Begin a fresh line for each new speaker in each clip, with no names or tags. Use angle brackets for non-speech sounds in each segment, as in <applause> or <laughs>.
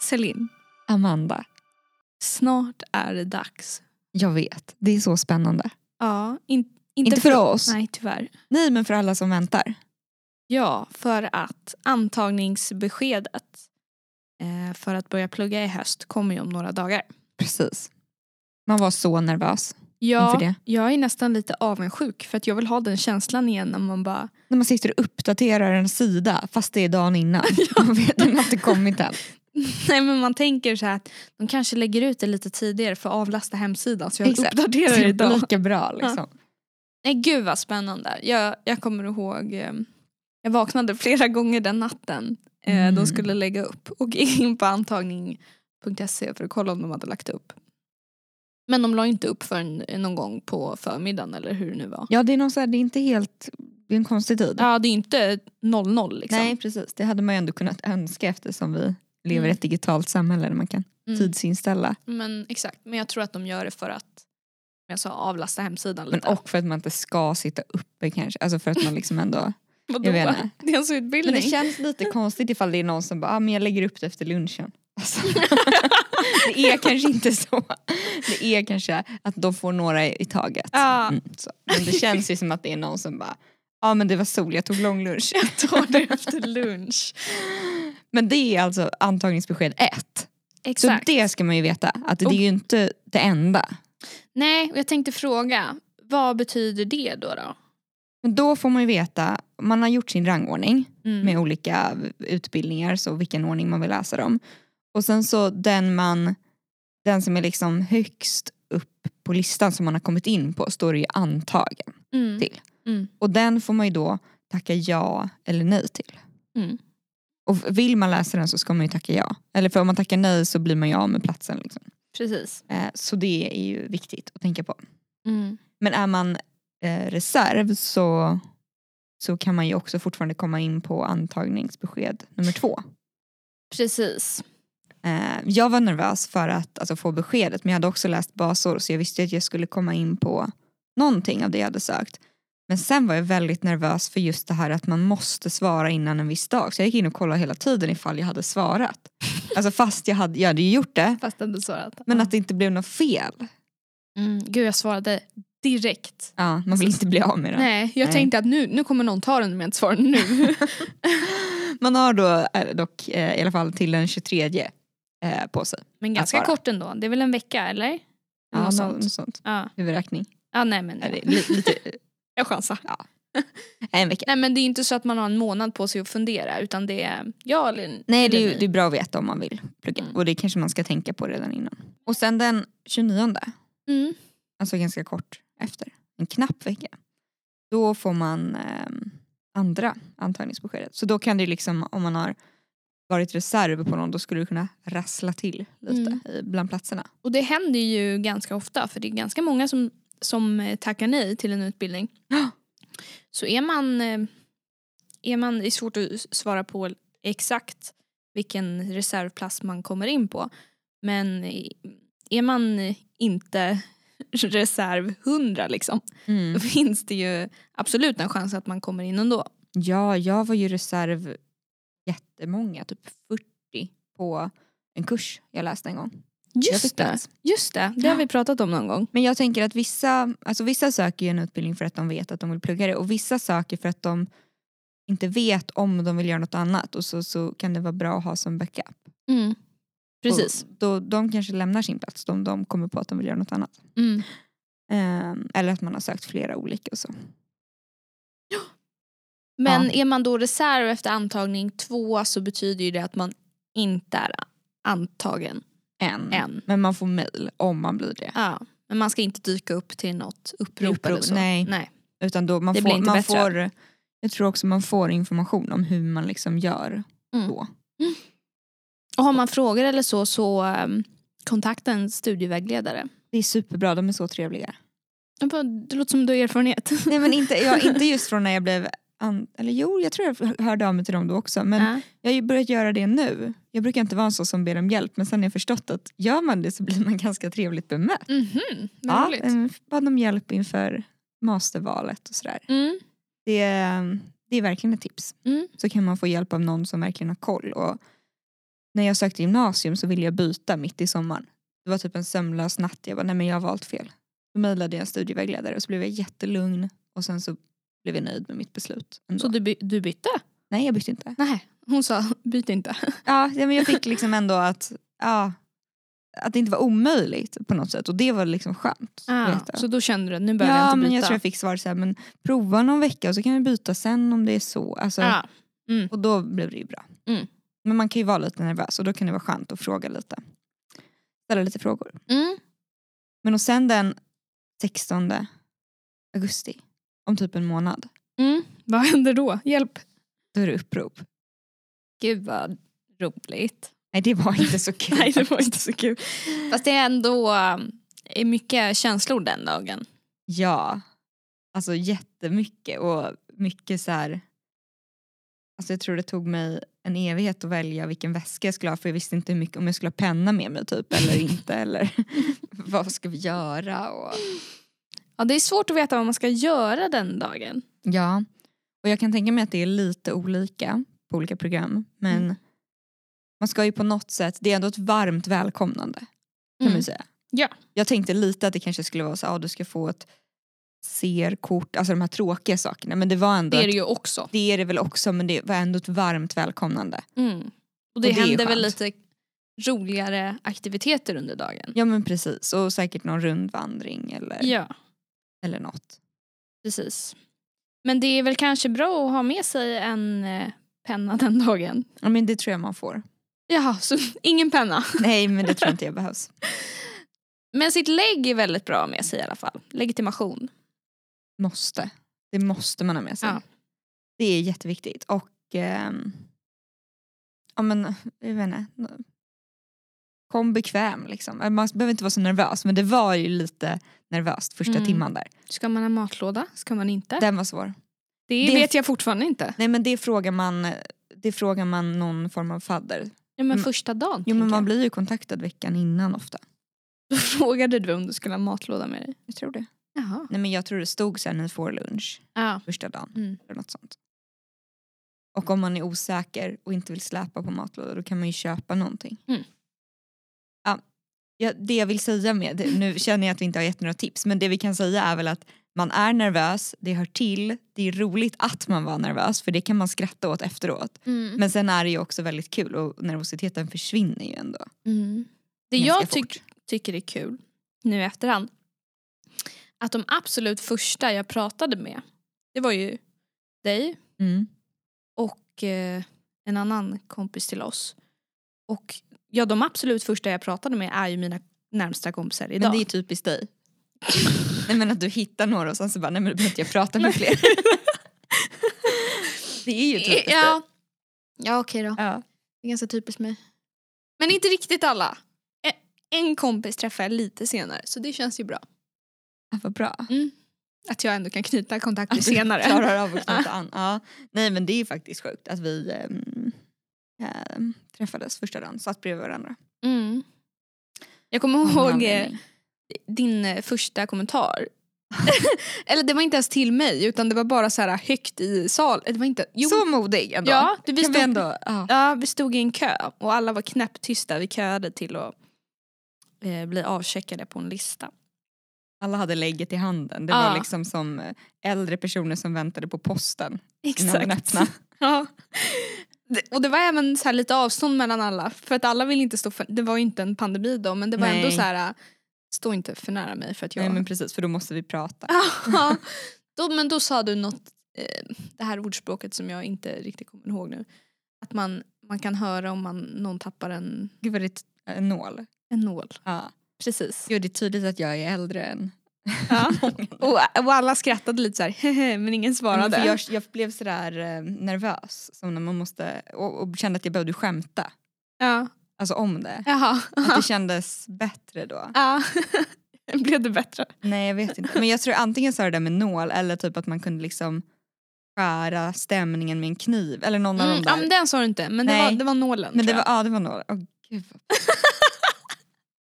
Celine,
Amanda,
snart är det dags.
jag vet. Det är så spännande.
Ja, in, inte,
Inte för oss.
Nej, tyvärr.
Nej, men för alla som väntar.
Ja, för att antagningsbeskedet eh, för att börja plugga i höst kommer ju om några dagar.
Precis. Man var så nervös inför
Ja,
det.
jag är nästan lite avundsjuk för att jag vill ha den känslan igen när man bara <laughs>
När man sitter och uppdaterar en sida fast det är
<laughs>
dagen innan. Man vet att den har inte kommit än.
Nej men man tänker så här att de kanske lägger ut det lite tidigare för att avlasta hemsidan så jag
Exakt.
uppdaterar
Så
det
det
idag.
blir lika bra liksom.
Nej gud vad spännande. Jag, jag kommer ihåg, eh, jag vaknade flera gånger den natten eh,
Mm.
de skulle lägga upp och <laughs> gick in på antagning.se för att kolla om de hade lagt upp. Men de la inte upp förrän någon gång på förmiddagen eller hur det nu var.
Ja, det är, någon så här, det är inte helt... Det är en konstig tid.
Ja det är inte 00 liksom.
Nej, precis. Det hade man ju ändå kunnat önska eftersom vi lever i
Mm.
ett digitalt samhälle där man kan
Mm.
tidsinställa.
Men exakt, men jag tror att de gör det för att som jag sa, avlasta hemsidan
Men
lite.
och för att man inte ska sitta uppe kanske. Alltså för att man liksom ändå...
Vadå?
jag vet inte.
<laughs> Det är ens utbildning.
Men
<laughs>
det känns lite konstigt ifall det är någon som bara, ah, men jag lägger upp det efter lunchen.
<laughs>
Alltså, det är kanske inte så. Det är kanske att de får några i taget.
Ja.
Mm, så. Men det känns ju som att det är någon som bara, ja ah, men det var sol, jag tog lång lunch.
tar det efter lunch.
Men det är alltså antagningsbesked ett. Så
Exakt.
det ska man ju veta, att det är
Och-
ju inte det enda.
Nej, och jag tänkte fråga, vad betyder det då? då?
Men då får man ju veta, man har gjort sin rangordning.
Mm.
med olika utbildningar, så vilken ordning man vill läsa dem. Och sen så den man, den som är liksom högst upp på listan som man har kommit in på står det ju antagen.
Mm.
till.
Mm.
Och den får man ju då tacka ja eller nej till.
Mm.
Och vill man läsa den så ska man ju tacka ja. Eller för om man tackar nej så blir man ju av med platsen. Liksom.
Precis.
Eh, så det är ju viktigt att tänka på.
Mm.
Men är man eh, reserv så, så kan man ju också fortfarande komma in på antagningsbesked nummer två.
Precis.
Eh, jag var nervös för att alltså, få beskedet men jag hade också läst basår så jag visste ju att jag skulle komma in på någonting av det jag hade sökt. Men sen var jag väldigt nervös för just det här att man måste svara innan en viss dag så jag gick in och kollade hela tiden ifall jag hade svarat. Alltså fast jag hade, jag hade ju gjort det
Fast ändå svarat.
men att det inte blev något fel.
mm. Gud, jag svarade direkt.
Ja, man vill inte bli av med det.
Nej, jag
Nej.
tänkte att nu, nu kommer någon ta den med ett svar nu.
<laughs> Man har då eh, dock eh, i alla fall till den 23 eh, på sig.
<laughs> Men ganska
svara.
kort ändå. Det är väl en vecka, eller?
Ja,
Något
något
sånt.
något sånt.
Ja.
Huvudräkning.
ja, nej men
Eller,
ja.
li, lite, <laughs>
jag chansar.
en vecka.
Nej men det är inte så att man har en månad på sig att fundera utan det är ja eller
Nej det är,
eller
ju, det är bra att veta om man vill plugga
Mm.
och det kanske man ska tänka på redan innan. Och sen den 29,
Mm.
alltså ganska kort efter, en knapp vecka, då får man ehm, andra antagningsbeskedet. Så då kan det ju liksom, om man har varit reserv på någon, då skulle du kunna rassla till
Mm.
lite i bland platserna.
Och det händer ju ganska ofta för det är ganska många som, som eh, tackar nej till en <gasps> utbildning.
Ja.
Så är man, eh, är man, det är svårt att s- svara på exakt vilken reservplats man kommer in på. Men eh, är man eh, inte <laughs> reserv 100 liksom, då finns det ju absolut en chans att man kommer in ändå.
Ja, jag var ju reserv jättemånga, typ 40 på en kurs jag läste en gång. jag fick
Just det,
plats.
just det, det har vi pratat om någon gång.
Men jag tänker att vissa, alltså vissa söker ju en utbildning för att de vet att de vill plugga det och vissa söker för att de inte vet om de vill göra något annat och så, så kan det vara bra att ha som backup.
Mm. Precis.
Och då, de kanske lämnar sin plats om de kommer på att de vill göra något annat.
Mm.
Ehm, eller att man har sökt flera olika och så.
Men
Ja.
är man då reserv efter antagning två så betyder ju det att man inte är antagen
En.
än.
Men man får mail om man blir det.
Ja. Men man ska inte dyka upp till något upprop
Upprop,
eller så.
nej.
nej.
Utan då man
Det blir
får,
inte
man
bättre.
får, jag tror också man får information om hur man liksom gör
Mm.
då.
Och har man frågor eller så så ehm, kontakta en studievägledare.
Det är superbra, de är så trevliga.
Jag bara, Det låter som du har erfarenhet.
Nej men inte, jag, inte just från när jag blev, an, eller jo jag tror jag hörde av mig till dem då också <laughs> men
Ja.
jag har ju börjat göra det nu. Jag brukar inte vara en sån som ber om hjälp men sen har jag förstått att gör man det så blir man <laughs> ganska trevligt
<laughs>
bemött.
Mhm, vad roligt.
eh, bad om hjälp inför mastervalet och sådär.
Mm.
Det, är- det är verkligen ett tips.
Mm.
Så kan man få hjälp av någon som verkligen har koll och när jag sökte gymnasium så ville jag byta mitt i sommaren. Det var typ en sömnlös natt. Jag bara, nej men jag har valt fel. Då mejlade jag en studievägledare och så blev jag jättelugn och sen så blev jag nöjd med mitt beslut. Ändå.
Så du, by- du bytte?
Nej jag bytte inte.
Nej. Hon sa byt inte.
Ja, ja, men jag fick liksom ändå att, ja, att det inte var omöjligt på något sätt och det var liksom skönt. att
Ah,
veta.
så då kände du nu behöver jag
ja
inte byta.
men jag tror jag fick svar så här, men prova någon vecka och så kan vi byta sen om det är så. Alltså,
ah.
Och då blev det ju bra.
Mm.
Men man kan ju vara lite nervös och då kan det vara skönt att fråga lite. Ställa lite frågor.
mm.
Men och sen den 16 augusti, om typ en månad,
Mm. Vad händer då? Hjälp.
då är det upprop.
Gud vad roligt.
Nej det var inte så kul.
<laughs> Nej det var inte så kul. Fast det är ändå um, är mycket känslor den dagen.
Ja, alltså jättemycket och mycket så här. Alltså jag tror det tog mig en evighet att välja vilken väska jag skulle ha för jag visste inte hur mycket, om jag skulle ha penna med mig typ eller inte eller <laughs> vad ska vi göra och
Ja, det är svårt att veta vad man ska göra den dagen.
ja. Och jag kan tänka mig att det är lite olika på olika program men
Mm.
man ska ju på något sätt, det är ändå ett varmt välkomnande kan
Mm.
man ju säga.
Ja.
Jag tänkte lite att det kanske skulle vara så att ah, du ska få ett CR-kort, alltså de här tråkiga sakerna men det var ändå
Det är
ett-
det ju också.
Det är det väl också men det var ändå ett varmt välkomnande.
Mm. Och det,
det är ju
händer väl
skönt.
lite roligare aktiviteter under dagen.
Ja men precis och säkert någon rundvandring eller,
Ja,
eller något.
precis. Men det är väl kanske bra att ha med sig en eh, penna den dagen.
Ja men det tror jag
<laughs>
man får.
Jaha, så ingen penna.
Nej men det tror inte jag behövs.
Men sitt lägg är väldigt bra med sig i alla fall. Legitimation.
Måste. Det måste man ha med sig.
Ja.
Det är jätteviktigt och ehm, ja men jag vet inte. Kom bekväm liksom. Man behöver inte vara så nervös men det var ju lite nervöst första
Mm.
timman där.
Ska man ha matlåda? Ska man inte?
Den var svår.
Det,
det-
vet jag fortfarande inte.
Nej men det frågar man, det frågar man någon form av fadder.
Ja, men
Mm.
första dagen.
Jo men
tänker
man
jag.
blir ju kontaktad veckan innan ofta.
Då <laughs> frågade du om du skulle ha matlåda med dig.
Jag tror det.
Jaha.
Nej men jag tror det stod så här, ni får lunch
Ja.
första dagen.
Mm.
Eller något sånt. Och om man är osäker och inte vill släpa på matlåda då kan man ju köpa någonting.
Mm.
Ja, ja, det jag vill säga med, det- nu känner jag att vi inte har gett några tips men det vi kan säga är väl att man är nervös, det hör till, det är roligt att man var nervös för det kan man skratta åt efteråt.
Mm.
Men sen är det ju också väldigt kul och nervositeten försvinner ju ändå.
Mm. Det
ganska
jag tyck- tycker är kul nu i efterhand att de absolut första jag pratade med det var ju dig
Mm.
och eh, en annan kompis till oss. Och ja, de absolut första jag pratade med är ju mina närmsta kompisar idag.
Men det är typiskt dig. <laughs> nej men att du hittar några och sen så bara nej men du behöver inte jag prata med fler. <laughs> det är ju typiskt dig.
Eh, ja. ja, okej då.
Ja.
Det är ganska typiskt mig. Men inte riktigt alla. E- En kompis träffade jag lite senare så det känns ju bra.
Ja, vad bra.
Att jag ändå kan knyta kontakter
Att du
senare.
klarar av att knyta an. Ja. Nej men det är faktiskt sjukt att vi ehm, ehm, träffades första dagen, satt bredvid varandra.
Mm. Jag kommer
Av någon
ihåg eh,
anledning.
din eh, första kommentar. <laughs> Eller det var inte ens till mig utan det var bara så här högt i salen. Det var inte... Jo,
Så modig ändå.
ja, du, vi,
kan vi
stod,
ändå, ja.
ja, vi stod i en kö och alla var knäpptysta. Vi köade till att eh, bli avcheckade på en lista.
Alla hade lägget i handen. Det
Ja.
var liksom som eh, äldre personer som väntade på posten innan den
Exakt. <laughs>
öppnade.
Ja. Det- Och det var även så här lite avstånd mellan alla. För att alla ville inte stå för, det var ju inte en pandemi då men det var ändå
Nej.
så här, äh, stå inte för nära mig för att jag...
Nej men precis för då måste vi prata.
<laughs> Ja. då, men då sa du något, eh, det här ordspråket som jag inte riktigt kommer ihåg nu. Att man, man kan höra om man, någon tappar en,
Gud vad det är t- en nål.
en nål.
Ja.
Precis.
Jo, det är tydligt att jag är äldre än
Ja.
många.
<laughs> Och, och alla skrattade lite så här, "Hehe", men ingen
Men
svarade.
Mm, för jag, jag blev sådär eh, nervös som när man måste, och, och kände att jag behövde skämta
Ja.
alltså om det.
Jaha. <laughs>
Att det kändes bättre då.
Ja. <laughs> Blev det bättre?
Nej jag vet inte. Men jag tror antingen så var det där med nål eller typ att man kunde liksom skära stämningen med en kniv eller någon av
Mm,
de
ja,
där.
men den sa du inte, men det
Nej.
var, det var nålen.
men det
tror
var,
jag.
ja, det var nål. Åh gud. <laughs>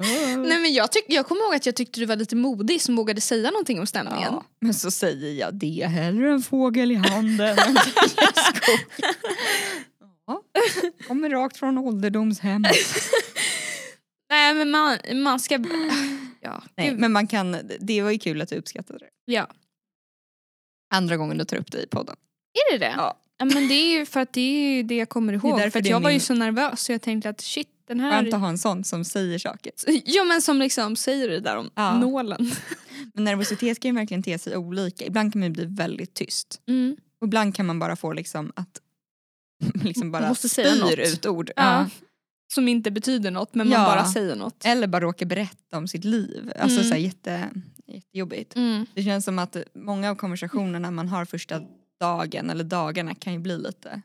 Åh.
Nej, men jag, tyck, jag kommer ihåg att jag tyckte du var lite modig som vågade säga någonting om stämningen.
Ja, men så <laughs> säger jag det är hellre en fågel i handen. Kommer rakt från ålderdomshem.
Nej men man, man ska... Ja.
Nej,
gud.
men man kan, det var ju kul att du uppskattade det.
ja.
Andra gången du tar upp det i podden.
Är det det?
Ja.
men det är ju för att det är ju det jag kommer ihåg.
därför
För att
det är
jag var ju
min-
så nervös så jag tänkte att shit den här...
Skönt att ha en sån som säger saker.
<laughs> Ja men som liksom säger det där om
Ja.
nålen.
Men nervositet kan ju verkligen te sig olika. Ibland kan man ju bli väldigt tyst.
Mm.
Och ibland kan man bara få liksom att <laughs> liksom bara
Måste säga
spyr
något.
ut ord.
Ja. Som inte betyder något men man
Ja.
bara säger något.
Eller bara råka berätta om sitt liv. Alltså
Mm.
så här, jätte, jättejobbigt.
Mm.
Det känns som att många av konversationerna man har första dagen eller dagarna kan ju bli lite...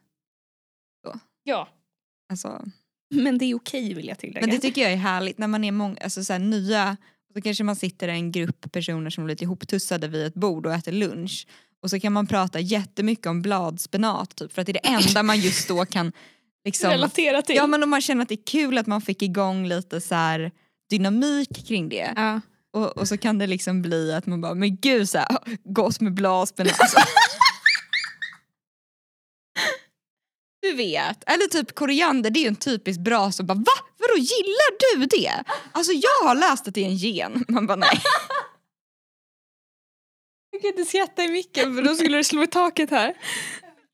Ja.
Alltså,
Men det är okej vill jag tillägga.
men det tycker jag är härligt när man är många, alltså så här, nya. Då kanske man sitter i en grupp personer som är lite ihoptussade vid ett bord och äter lunch. Och så kan man prata jättemycket om bladspenat typ, för att det är det enda man just då kan...
<laughs>
Liksom,
Relatera till.
ja men om man känner att det är kul att man fick igång lite så här, dynamik kring det.
Ja.
Och, och så kan det liksom bli att man bara, men gud så här, gott med blaspen. Alltså. <laughs> du vet, eller typ koriander det är ju en typisk bra som bara, va? Vadå gillar du det? Alltså jag har läst att det är en gen. <laughs> Man bara nej.
Du kan inte skratta i micken för då skulle du slå i taket här.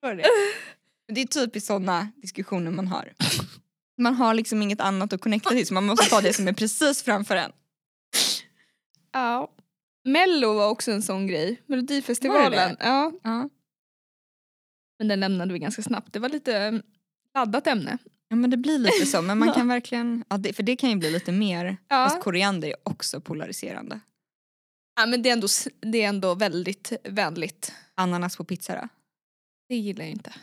Men det är typiskt sådana diskussioner man har. Man har liksom inget annat att connecta till så man måste ta det som är precis framför en.
Ja. Mello var också en sån grej.
Var det
Melodifestivalen.
det?
Ja.
Ja.
Men den lämnade vi ganska snabbt. Det var lite eh, laddat ämne.
Ja men det blir lite så, men man kan verkligen, ja, det, för det kan ju bli lite mer,
Ja.
fast koriander är också polariserande.
Ja, men det, är ändå, s- det är ändå väldigt vänligt.
Ananas på pizza då?
Det gillar jag inte.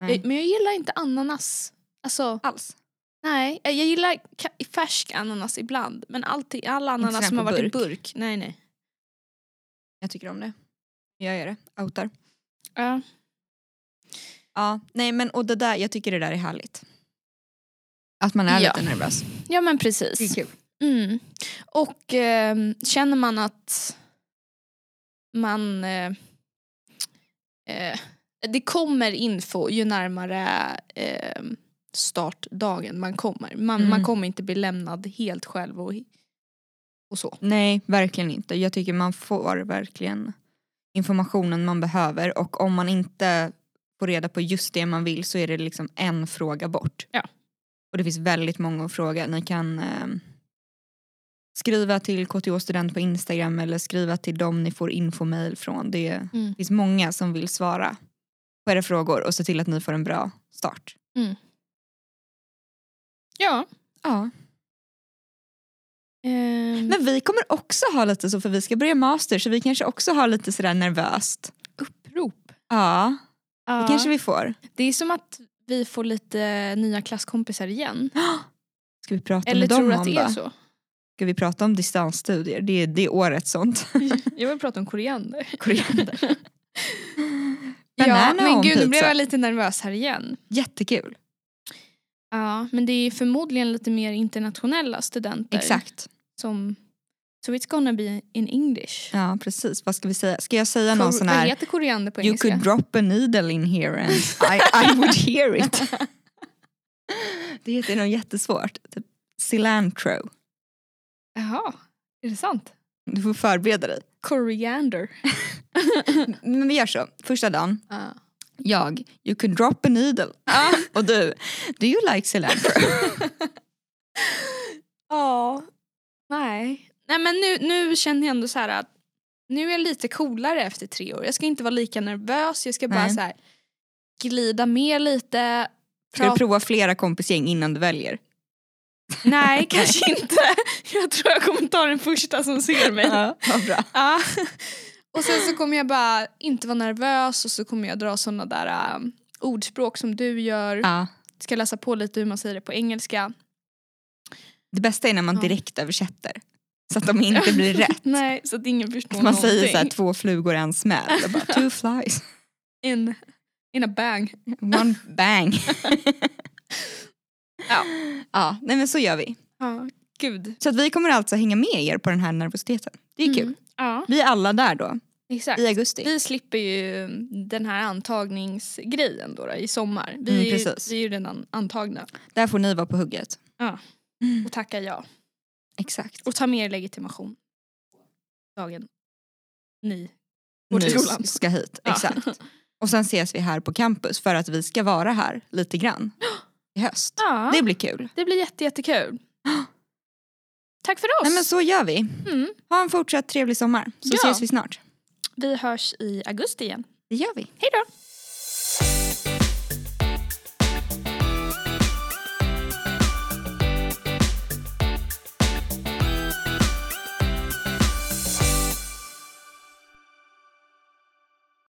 Nej.
Jag, men jag gillar inte ananas. Alltså,
Alls.
nej. Jag gillar ka- färsk ananas ibland. Men alltid, all
sån här
ananas som har
på
varit i
burk.
burk. Nej, nej.
Jag tycker om det. Jag gör det, outar.
Ja.
Ja, nej men och det där, jag tycker det där är härligt. Att man är
Ja.
lite nervös.
ja, men precis.
kul.
Mm. Och ehm, känner man att man... Eh, eh, det kommer info ju närmare ehm, startdagen man kommer. Man,
Mm.
man kommer inte bli lämnad helt själv och, och så.
Nej, verkligen inte. Jag tycker man får verkligen informationen man behöver och om man inte får reda på just det man vill så är det liksom en fråga bort.
Ja.
Och det finns väldigt många att fråga. Ni kan ehm, skriva till KTH student på Instagram eller skriva till dem ni får infomail från. Det
Mm.
finns många som vill svara på era frågor och se till att ni får en bra start.
Ja.
Ja.
Ehm,
Mm. Men vi kommer också ha lite så för vi ska börja master så vi kanske också har lite sådär nervöst.
upprop.
Ja.
Ja.
Det kanske vi får.
Det är som att vi får lite nya klasskompisar igen.
Ska vi prata
Eller
med dem
tror du
om
att det är
då?
så?
Ska vi prata om distansstudier? Det är, det är årets sånt.
<laughs> Jag vill prata om koriander.
Koriander.
Ja,
Banana
men
on
gud, nu
pizza.
blev jag lite nervös här igen.
Jättekul.
Ja, men det är förmodligen lite mer internationella studenter.
Exakt.
Som, so it's gonna be in English.
Ja, precis. Vad ska vi säga? Ska jag säga någon
Kor-
sån
Vad
här
heter koriander på
You
engelska?
could drop a needle in here and I, I would hear
<laughs>
it. det heter något jättesvårt. Typ cilantro.
Jaha, är det sant?
Du får förbereda dig.
Koriander.
Men vi gör så. Första dagen,
Ja.
jag, you could drop a needle. <laughs> Och du, do you like cilantro?
Ja. Nej. Nej men nu, nu känner jag ändå så här att nu är jag lite coolare efter tre år. Jag ska inte vara lika nervös, jag ska bara
Nej.
så här glida med lite.
Ska du
prata-
prova flera kompisgäng innan du väljer?
Nej, kanske inte. <laughs> Jag tror jag kommer ta den första som ser mig.
<laughs> vad bra.
Ja. <laughs> Och sen så kommer jag bara inte vara nervös och så kommer jag dra såna där um, ordspråk som du gör.
Ja.
Ska läsa på lite hur man säger det på engelska.
Det bästa är när man
Ja.
direkt översätter. Så att de
<laughs>
inte blir rätt.
Nej, så att ingen förstår
Man
någonting.
säger så här, typ, två flugor i en smäll. Och bara, Two flies,
in, in a bang.
one bang. <laughs>
Ja.
ja, nej men så gör vi.
Ja, gud.
Så att vi kommer alltså hänga med er på den här nervositeten. Det är kul.
Ja.
Vi är alla där då.
Mm. Exakt.
i augusti.
Vi slipper ju den här antagningsgrejen då, då i sommar. Vi,
Mm,
är ju,
precis.
vi är ju redan antagna
Där får ni vara på hugget.
Ja.
Mm,
och tacka ja.
exakt.
Och ta med er legitimation. Dagen ni går till
Ni
skolan.
ska hit,
Ja.
exakt. Och sen ses vi här på campus för att vi ska vara här lite grann i höst.
Ja,
Det
det,
blir kul.
blir jätte, jättekul. Tack för oss!
Nej men så gör vi.
mm.
Ha en fortsatt trevlig sommar så
Ja.
ses vi snart.
Vi hörs i augusti igen.
Det gör vi.
Hej då!